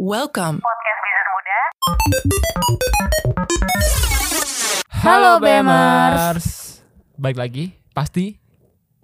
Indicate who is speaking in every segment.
Speaker 1: Welcome.
Speaker 2: Podcast Bisnis Muda.
Speaker 3: Halo,
Speaker 4: Halo Bemers.
Speaker 3: Bemers. Baik lagi, pasti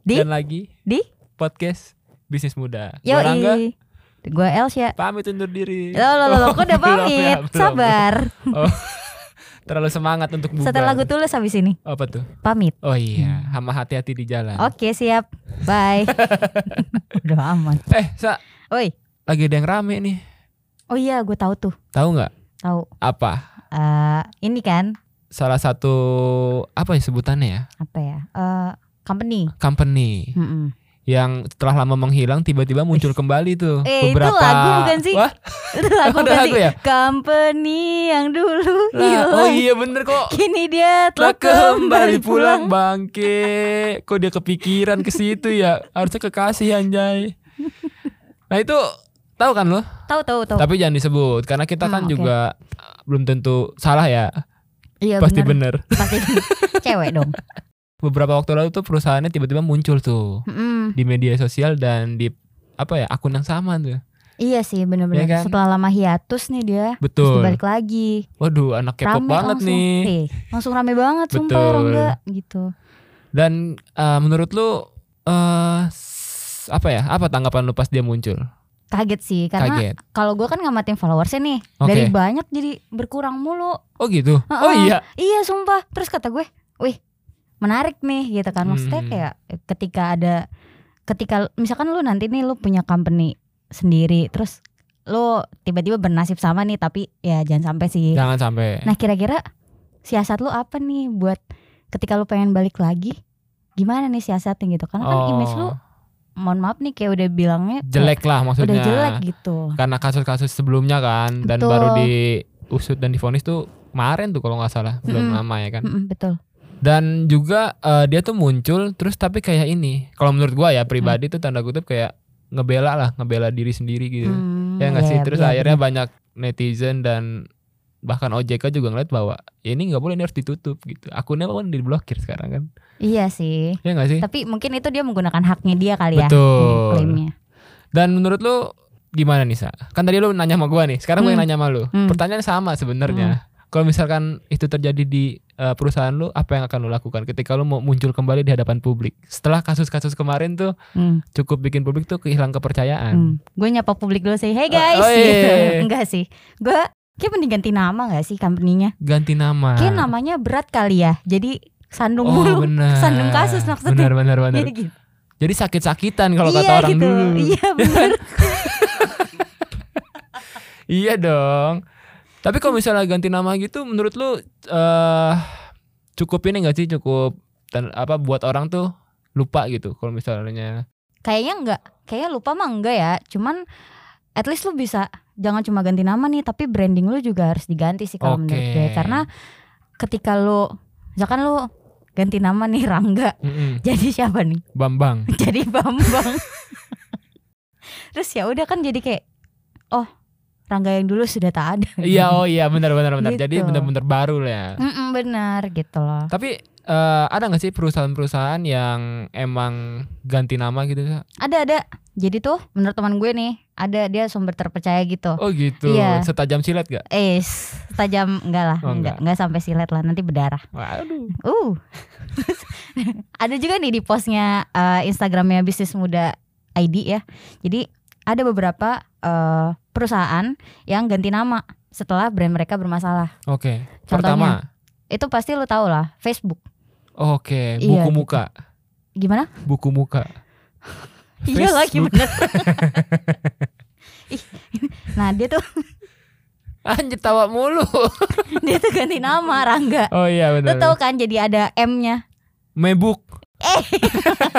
Speaker 4: Di?
Speaker 3: dan lagi
Speaker 4: Di?
Speaker 3: podcast bisnis muda. Gua Rangga,
Speaker 4: Yoi. Gue Elsya.
Speaker 3: pamit undur diri.
Speaker 4: Lo lo lo, lo kok udah
Speaker 3: Belum, ya,
Speaker 4: pamit.
Speaker 3: belum.
Speaker 4: Sabar.
Speaker 3: Oh, terlalu semangat untuk bubar.
Speaker 4: Setelah gue tulis habis ini.
Speaker 3: apa tuh?
Speaker 4: Pamit.
Speaker 3: Oh iya, sama hati-hati di jalan.
Speaker 4: Hmm. Oke, siap. Bye. udah aman.
Speaker 3: Eh, Sa,
Speaker 4: Oi.
Speaker 3: lagi ada yang rame nih.
Speaker 4: Oh iya, gue tahu tuh.
Speaker 3: Tahu nggak
Speaker 4: Tahu.
Speaker 3: apa?
Speaker 4: Eh, ini kan
Speaker 3: Salah satu apa ya sebutannya ya?
Speaker 4: apa ya? Eh, company.
Speaker 3: Company
Speaker 4: Mm-mm.
Speaker 3: yang setelah lama menghilang tiba-tiba muncul kembali tuh
Speaker 4: Eh, itu
Speaker 3: beberapa
Speaker 4: lagu bukan sih?
Speaker 3: Wah,
Speaker 4: Itu lagu
Speaker 3: Ada
Speaker 4: kan
Speaker 3: lagu
Speaker 4: sih?
Speaker 3: ya?
Speaker 4: Company yang dulu
Speaker 3: lah, oh
Speaker 4: hilang.
Speaker 3: iya bener kok.
Speaker 4: Kini dia
Speaker 3: Lah
Speaker 4: telah kembali pulang.
Speaker 3: bangke. Kok dia kepikiran ke situ ya? Harusnya kekasih anjay. Nah itu tahu kan lo?
Speaker 4: Tahu tahu tahu.
Speaker 3: Tapi jangan disebut karena kita
Speaker 4: Hmm,
Speaker 3: kan
Speaker 4: oke.
Speaker 3: juga uh, belum tentu salah ya.
Speaker 4: Iya
Speaker 3: Pasti
Speaker 4: bener.
Speaker 3: bener.
Speaker 4: Pasti cewek dong.
Speaker 3: Beberapa waktu lalu tuh perusahaannya tiba-tiba muncul tuh
Speaker 4: Mm-mm.
Speaker 3: di media sosial dan di apa ya akun yang sama tuh.
Speaker 4: Iya sih
Speaker 3: Iya
Speaker 4: bener-bener
Speaker 3: kan?
Speaker 4: Setelah lama hiatus nih dia Terus
Speaker 3: Betul.
Speaker 4: dibalik lagi
Speaker 3: Waduh anak K-pop
Speaker 4: Rame
Speaker 3: banget
Speaker 4: langsung.
Speaker 3: nih.
Speaker 4: Eh, Langsung rame banget Sumpah
Speaker 3: Betul.
Speaker 4: Rangga Gitu
Speaker 3: Dan uh, menurut lu eh s- apa ya? Apa tanggapan lu pas dia muncul?
Speaker 4: Kaget sih Karena
Speaker 3: Kaget.
Speaker 4: kalau gue kan ngamatin followersnya nih
Speaker 3: Oke.
Speaker 4: Dari banyak jadi berkurang mulu
Speaker 3: Oh gitu. Oh
Speaker 4: Heeh.
Speaker 3: iya.
Speaker 4: Iya sumpah Terus kata gue Wih menarik nih gitu kan Maksudnya
Speaker 3: Hmm.
Speaker 4: kayak eh, ketika ada Ketika misalkan lu nanti nih lu punya company sendiri Terus lu tiba-tiba bernasib sama nih Tapi ya jangan sampai sih
Speaker 3: Jangan sampai.
Speaker 4: Nah kira-kira siasat lu apa nih buat ketika lu pengen balik lagi gimana nih siasatnya gitu karena kan
Speaker 3: Oh,
Speaker 4: image lu mohon maaf nih kayak udah bilangnya
Speaker 3: jelek Kan? lah
Speaker 4: kayak
Speaker 3: maksudnya.
Speaker 4: udah jelek gitu
Speaker 3: Karena kasus-kasus sebelumnya kan dan
Speaker 4: Betul.
Speaker 3: baru diusut dan difonis tuh kemarin tuh kalau nggak salah belum
Speaker 4: Mm-mm.
Speaker 3: lama ya kan.
Speaker 4: Mm-mm, betul
Speaker 3: Dan juga eh, dia tuh muncul terus tapi kayak ini. Kalau menurut gua ya
Speaker 4: Mm.
Speaker 3: pribadi tuh tanda kutip kayak ngebela lah, ngebela diri sendiri gitu.
Speaker 4: Hmm,
Speaker 3: Ya nggak sih?
Speaker 4: iya,
Speaker 3: Terus
Speaker 4: iya,
Speaker 3: akhirnya
Speaker 4: bener.
Speaker 3: banyak netizen dan bahkan OJK juga ngeliat bahwa ya ini nggak boleh ini harus ditutup gitu. Akunnya kan diblokir sekarang kan.
Speaker 4: iya sih
Speaker 3: Ya nggak sih?
Speaker 4: tapi mungkin itu dia menggunakan haknya dia kali ya
Speaker 3: Betul.
Speaker 4: klaimnya
Speaker 3: Dan menurut lu gimana nih Sa? Kan tadi lu nanya sama gua nih, sekarang gua yang
Speaker 4: Hmm.
Speaker 3: nanya sama lu.
Speaker 4: Hmm.
Speaker 3: Pertanyaan sama sebenarnya. Kalau misalkan itu terjadi di eh, perusahaan lu, apa yang akan lu lakukan ketika lu mau muncul kembali di hadapan publik? Setelah kasus-kasus kemarin tuh
Speaker 4: Hmm,
Speaker 3: cukup bikin publik tuh kehilangan kepercayaan.
Speaker 4: hmm. gue nyapa publik dulu sih hey guys
Speaker 3: Kan. Oh, oh, iya,
Speaker 4: gitu.
Speaker 3: iya, iya.
Speaker 4: enggak sih gue kayak mending ganti nama nggak sih company-nya
Speaker 3: Ganti nama.
Speaker 4: kayak namanya berat kali ya jadi sandung
Speaker 3: Ah. Oh
Speaker 4: mulu
Speaker 3: benar.
Speaker 4: sandung kasus maksudnya
Speaker 3: Benar benar benar.
Speaker 4: Iya, gitu.
Speaker 3: Jadi sakit-sakitan kalau kata
Speaker 4: iya,
Speaker 3: orang
Speaker 4: gitu.
Speaker 3: dulu.
Speaker 4: Iya bener
Speaker 3: Iya dong. Tapi kalau misalnya ganti nama gitu, menurut lu eh cukup ini nggak sih cukup dan apa buat orang tuh lupa gitu kalau misalnya
Speaker 4: Kayaknya enggak Kayaknya lupa mah enggak ya Cuman At least lu bisa Jangan cuma ganti nama nih Tapi branding lu juga harus diganti sih Kalau
Speaker 3: Oke.
Speaker 4: menurut gue Karena Ketika lu Misalkan lu Ganti nama nih Rangga
Speaker 3: Mm-mm,
Speaker 4: Jadi siapa nih?
Speaker 3: Bambang.
Speaker 4: Jadi Bambang Terus ya udah kan jadi kayak Oh Rangga yang dulu sudah tak ada
Speaker 3: Iya oh iya benar-benar benar.
Speaker 4: Gitu.
Speaker 3: Jadi benar-benar baru lah ya.
Speaker 4: Mm-mm, Benar gitu loh
Speaker 3: Tapi eh ada nggak sih perusahaan-perusahaan yang emang ganti nama gitu? Sa?
Speaker 4: Ada-ada Jadi tuh Menurut teman gue nih Ada dia sumber terpercaya gitu
Speaker 3: Oh gitu.
Speaker 4: Iya.
Speaker 3: Setajam silat gak?
Speaker 4: Eh, tajam enggak lah,
Speaker 3: Oh, enggak.
Speaker 4: enggak, enggak sampai silet lah, nanti berdarah.
Speaker 3: Waduh.
Speaker 4: Uh. ada juga nih di postnya eh, Instagramnya bisnis muda ID ya. Jadi ada beberapa eh, perusahaan yang ganti nama setelah brand mereka bermasalah.
Speaker 3: Oke.
Speaker 4: Contohnya?
Speaker 3: Pertama.
Speaker 4: Itu pasti lo tau lah, Facebook.
Speaker 3: Oke. Buku
Speaker 4: Iya, gitu.
Speaker 3: muka.
Speaker 4: Gimana?
Speaker 3: Buku muka.
Speaker 4: Iya lagi
Speaker 3: Facebook.
Speaker 4: bener. Ih, nah dia tuh
Speaker 3: Anjir tawa mulu.
Speaker 4: dia tuh ganti nama Rangga.
Speaker 3: Oh iya
Speaker 4: Lo
Speaker 3: benar.
Speaker 4: tau kan jadi ada M-nya.
Speaker 3: Mebuk.
Speaker 4: Eh.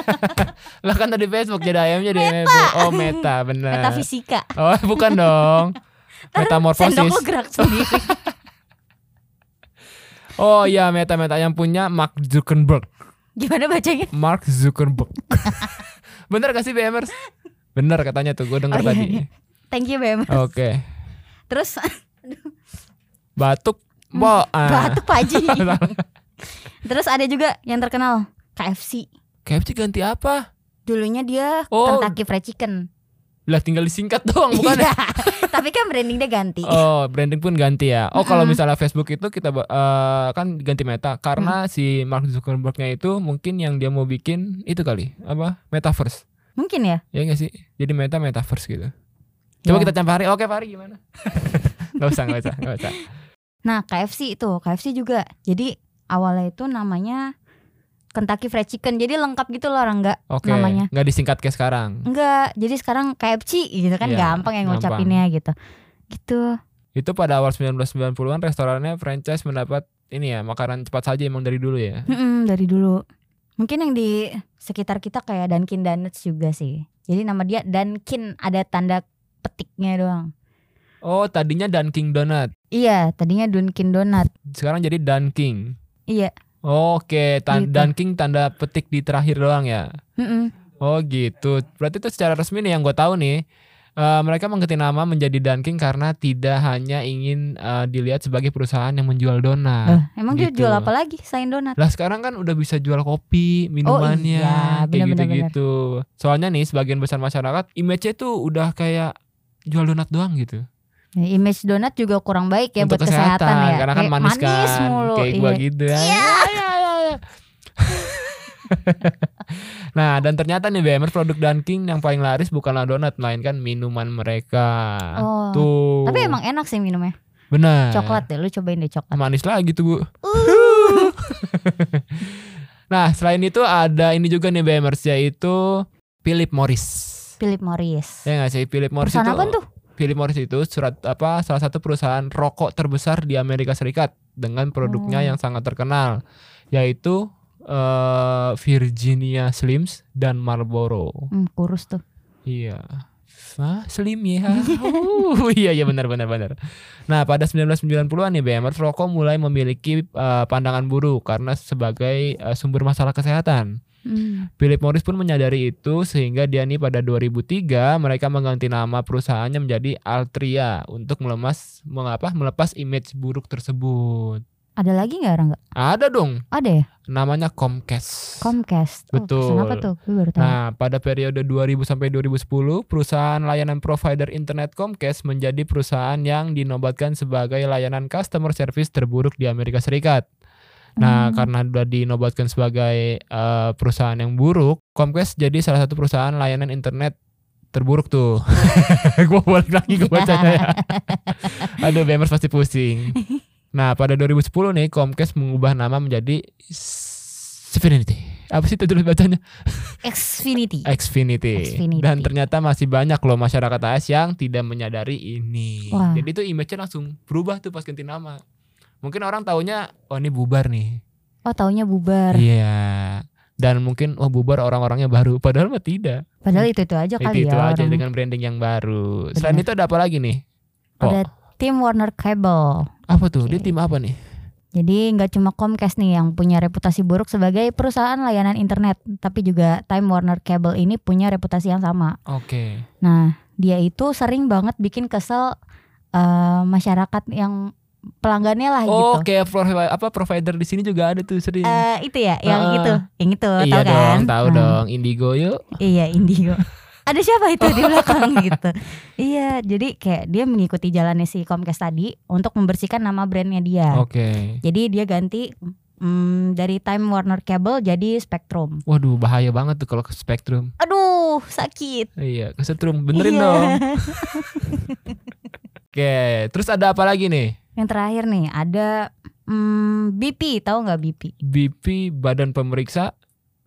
Speaker 3: lah kan tadi Facebook jadi ayam jadi mebuk. Oh meta benar.
Speaker 4: Metafisika.
Speaker 3: Oh bukan dong.
Speaker 4: Sendok lo
Speaker 3: Metamorfosis.
Speaker 4: gerak sendiri.
Speaker 3: Oh iya meta meta yang punya Mark Zuckerberg.
Speaker 4: Gimana bacanya?
Speaker 3: Mark Zuckerberg. bener gak sih BMers? Bener katanya tuh gue denger
Speaker 4: Oh, iya,
Speaker 3: tadi.
Speaker 4: iya. Thank you BM.
Speaker 3: Oke.
Speaker 4: Terus
Speaker 3: Batuk. Bo. Ah.
Speaker 4: batuk Pak Haji. Terus ada juga yang terkenal KFC.
Speaker 3: KFC ganti apa?
Speaker 4: Dulunya dia
Speaker 3: Oh.
Speaker 4: Kentucky Fried Chicken.
Speaker 3: Lah tinggal disingkat doang bukan ya?
Speaker 4: Iya. Tapi kan branding dia ganti.
Speaker 3: Oh, branding pun ganti ya. Oh, kalau
Speaker 4: Mm-mm.
Speaker 3: misalnya Facebook itu kita ba- eh, kan ganti Meta
Speaker 4: Mm.
Speaker 3: karena si Mark Zuckerberg-nya itu mungkin yang dia mau bikin itu kali apa? Metaverse.
Speaker 4: Mungkin ya.
Speaker 3: Ya nggak sih? Jadi Meta metaverse gitu. Coba
Speaker 4: Ya.
Speaker 3: kita tanya Fahri. Oke, Fahri gimana? gak usah, gak usah, gak usah.
Speaker 4: Nah, KFC itu, KFC juga. Jadi awalnya itu namanya Kentucky Fried Chicken. Jadi lengkap gitu loh orang nggak
Speaker 3: Oke.
Speaker 4: namanya.
Speaker 3: Nggak disingkat kayak sekarang.
Speaker 4: Enggak, jadi sekarang KFC gitu kan
Speaker 3: Iya,
Speaker 4: gampang yang
Speaker 3: gampang.
Speaker 4: ngucapinnya gitu. Gitu.
Speaker 3: Itu pada awal 1990-an restorannya franchise mendapat ini ya, makanan cepat saji emang dari dulu ya.
Speaker 4: Mm-mm, dari dulu. Mungkin yang di sekitar kita kayak Dunkin Donuts juga sih. Jadi nama dia Dunkin ada tanda petiknya doang.
Speaker 3: Oh, tadinya Dunkin Donut.
Speaker 4: Iya, tadinya Dunkin Donut.
Speaker 3: Sekarang jadi Dunkin.
Speaker 4: Iya.
Speaker 3: Oke, tan-
Speaker 4: Gitu.
Speaker 3: Dunkin tanda petik di terakhir doang ya.
Speaker 4: Mm-mm.
Speaker 3: Oh gitu. Berarti itu secara resmi nih yang gue tahu nih. eh, mereka mengganti nama menjadi Dunkin karena tidak hanya ingin eh, dilihat sebagai perusahaan yang menjual donat.
Speaker 4: Eh, emang dia
Speaker 3: gitu.
Speaker 4: jual apa lagi selain donat?
Speaker 3: Lah sekarang kan udah bisa jual kopi, minumannya, kayak
Speaker 4: iya, benar-benar,
Speaker 3: gitu-gitu. Soalnya nih sebagian besar masyarakat image-nya tuh udah kayak jual donat doang gitu.
Speaker 4: Ya, image donat juga kurang baik ya buat kesehatan, ya.
Speaker 3: Karena kan
Speaker 4: Kayak
Speaker 3: manis, kan.
Speaker 4: mulu.
Speaker 3: Kayak gua
Speaker 4: iya.
Speaker 3: gitu. ya. Ya, ya, ya. nah, dan ternyata nih BMR produk Dunkin yang paling laris bukanlah donat melainkan minuman mereka.
Speaker 4: Oh.
Speaker 3: Tuh. Nah.
Speaker 4: Tapi emang enak sih minumnya.
Speaker 3: benar.
Speaker 4: Coklat Uh. deh, lu cobain deh coklat.
Speaker 3: Manis lagi tuh, Bu. nah, selain itu ada ini juga nih BMers yaitu Philip Morris.
Speaker 4: Philip Morris.
Speaker 3: Ya nggak sih Philip Morris
Speaker 4: Perusahaan
Speaker 3: itu.
Speaker 4: apa tuh?
Speaker 3: Philip Morris itu surat apa salah satu perusahaan rokok terbesar di Amerika Serikat dengan produknya
Speaker 4: Oh.
Speaker 3: yang sangat terkenal yaitu eh, Virginia Slims dan Marlboro.
Speaker 4: Hmm, kurus tuh.
Speaker 3: Iya. Hah, slim ya. Oh, iya iya benar benar benar. Nah, pada 1990-an nih BMR rokok mulai memiliki eh, pandangan buruk karena sebagai eh, sumber masalah kesehatan.
Speaker 4: Hmm.
Speaker 3: Philip Morris pun menyadari itu sehingga dia nih pada 2003 mereka mengganti nama perusahaannya menjadi Altria untuk melemas mengapa melepas image buruk tersebut.
Speaker 4: Ada lagi nggak orang nggak?
Speaker 3: Ada dong
Speaker 4: Ada ya.
Speaker 3: namanya Comcast.
Speaker 4: Comcast. Oh,
Speaker 3: Betul.
Speaker 4: perusahaan apa tuh? Gue baru tahu.
Speaker 3: Nah, pada periode 2000 sampai 2010, perusahaan layanan provider internet Comcast menjadi perusahaan yang dinobatkan sebagai layanan customer service terburuk di Amerika Serikat. Nah,
Speaker 4: Hmm.
Speaker 3: karena sudah dinobatkan sebagai eh, perusahaan yang buruk, Comcast jadi salah satu perusahaan layanan internet terburuk tuh. gua balik lagi ke bacanya ya. Aduh, BMers pasti pusing. Nah, pada 2010 nih Comcast mengubah nama menjadi Xfinity. Apa sih itu dulu bacanya?
Speaker 4: Xfinity.
Speaker 3: Eh. Xfinity.
Speaker 4: Xfinity.
Speaker 3: Dan ternyata masih banyak loh masyarakat AS yang tidak menyadari ini.
Speaker 4: Wah.
Speaker 3: Jadi itu image-nya langsung berubah tuh pas ganti nama. Mungkin orang taunya oh ini bubar nih.
Speaker 4: Oh, taunya bubar.
Speaker 3: Iya. Dan mungkin oh bubar orang-orangnya baru padahal mah tidak.
Speaker 4: Padahal itu-itu aja kali
Speaker 3: Hmm. itu itu
Speaker 4: ya.
Speaker 3: aja
Speaker 4: orang.
Speaker 3: dengan branding yang baru.
Speaker 4: Benar.
Speaker 3: Selain itu ada apa lagi nih? Kok?
Speaker 4: Ada tim Warner Cable.
Speaker 3: Apa tuh? Dia
Speaker 4: Oke.
Speaker 3: tim apa nih?
Speaker 4: Jadi nggak cuma Comcast nih yang punya reputasi buruk sebagai perusahaan layanan internet, tapi juga Time Warner Cable ini punya reputasi yang sama.
Speaker 3: Oke.
Speaker 4: Nah, dia itu sering banget bikin kesel eh, masyarakat yang pelanggannya lah
Speaker 3: Oh,
Speaker 4: gitu.
Speaker 3: kayak provi- apa provider di sini juga ada tuh sering.
Speaker 4: Eh, itu ya, yang
Speaker 3: Heeh.
Speaker 4: itu, yang itu,
Speaker 3: iya
Speaker 4: tahu kan?
Speaker 3: dong, tahu
Speaker 4: Nah,
Speaker 3: dong. Indigo yuk.
Speaker 4: Iya, Indigo. Ada siapa itu di belakang gitu? Iya, jadi kayak dia mengikuti jalannya si Comcast tadi untuk membersihkan nama brandnya dia.
Speaker 3: Oke.
Speaker 4: Jadi dia ganti mm, dari Time Warner Cable jadi Spectrum.
Speaker 3: Waduh, bahaya banget tuh kalau ke spektrum.
Speaker 4: Aduh, sakit.
Speaker 3: Iya, kesetrum. Benerin
Speaker 4: Iya.
Speaker 3: dong. Oke, terus ada apa lagi nih?
Speaker 4: Yang terakhir nih ada mm, BP, tahu nggak BP?
Speaker 3: BP Badan Pemeriksa.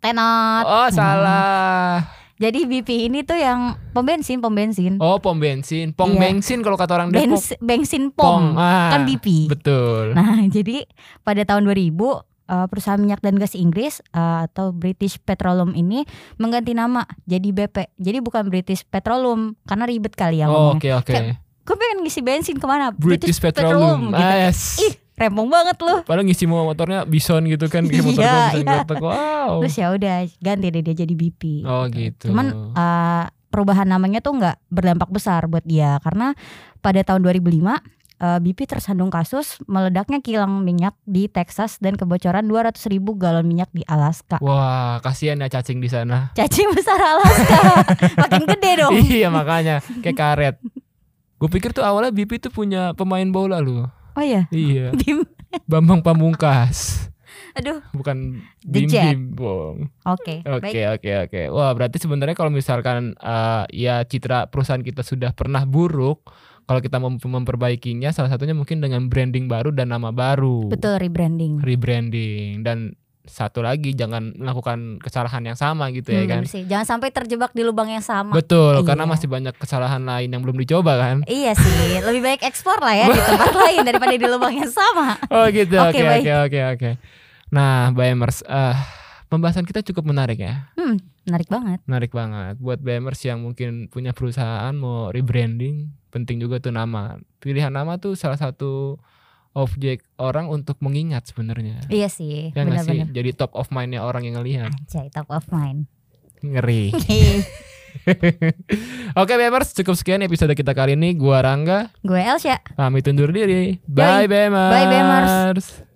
Speaker 4: Tenot.
Speaker 3: Oh, salah.
Speaker 4: Jadi BP ini tuh yang pom bensin, pom bensin.
Speaker 3: Oh, pom bensin. Pom
Speaker 4: Iya.
Speaker 3: bensin kalau kata orang Depok.
Speaker 4: Bens- bensin pom.
Speaker 3: Ah,
Speaker 4: Kan BP.
Speaker 3: Betul.
Speaker 4: Nah, jadi pada tahun 2000 eh, perusahaan minyak dan gas Inggris eh, atau British Petroleum ini mengganti nama jadi BP. Jadi bukan British Petroleum karena ribet kali ya
Speaker 3: Oh,
Speaker 4: ngomongnya.
Speaker 3: Oke, oke.
Speaker 4: Kayak Gue pengen ngisi bensin kemana?
Speaker 3: British Petroleum.
Speaker 4: gitu.
Speaker 3: Ah, yes.
Speaker 4: Ih, rempong banget lu.
Speaker 3: Padahal ngisi mau motornya Bison gitu kan, kayak motor
Speaker 4: Iya,
Speaker 3: gua Bison
Speaker 4: iya.
Speaker 3: gotek. Wow.
Speaker 4: Terus ya udah ganti deh dia jadi BP.
Speaker 3: Oh, gitu.
Speaker 4: Cuman ah, eh, perubahan namanya tuh nggak berdampak besar buat dia karena pada tahun 2005 eh eh, BP tersandung kasus meledaknya kilang minyak di Texas dan kebocoran 200 ribu galon minyak di Alaska.
Speaker 3: Wah, kasihan ya cacing di sana.
Speaker 4: Cacing besar Alaska, makin gede dong.
Speaker 3: iya, makanya kayak karet. Gue pikir tuh awalnya BP tuh punya pemain bola loh.
Speaker 4: Oh iya,
Speaker 3: Iya,
Speaker 4: Bim.
Speaker 3: Bambang Pamungkas.
Speaker 4: Aduh,
Speaker 3: Bukan
Speaker 4: The
Speaker 3: Bim
Speaker 4: Jet.
Speaker 3: Bim Bong.
Speaker 4: oke. Baik.
Speaker 3: Oke oke oke. Wah berarti sebenarnya kalau misalkan eh, ya citra perusahaan kita sudah pernah buruk, kalau kita mem- memperbaikinya salah satunya mungkin dengan branding baru dan nama baru,
Speaker 4: Betul rebranding.
Speaker 3: rebranding dan satu lagi jangan melakukan kesalahan yang sama gitu ya
Speaker 4: Hmm,
Speaker 3: kan.
Speaker 4: sih. Jangan sampai terjebak di lubang yang sama.
Speaker 3: Betul
Speaker 4: Iya.
Speaker 3: karena masih banyak kesalahan lain yang belum dicoba kan.
Speaker 4: Iya sih, lebih baik ekspor lah ya di tempat lain daripada di lubang yang sama.
Speaker 3: Oh gitu oke
Speaker 4: Oke, baik.
Speaker 3: oke oke oke. Nah BMers eh pembahasan kita cukup menarik ya.
Speaker 4: Hmm, menarik banget.
Speaker 3: Menarik banget buat BMers yang mungkin punya perusahaan mau rebranding, penting juga tuh nama. Pilihan nama tuh salah satu objek orang untuk mengingat sebenarnya.
Speaker 4: Iya sih,
Speaker 3: Ya nggak sih?
Speaker 4: benar-benar.
Speaker 3: Jadi top of mind-nya orang yang ngelihat.
Speaker 4: Anjay, top of mind.
Speaker 3: Ngeri. Oke BMers, cukup sekian episode kita kali ini. Gua Rangga,
Speaker 4: Gue Elsa.
Speaker 3: pamit undur diri. Bye BMers.
Speaker 4: Bye, BMers.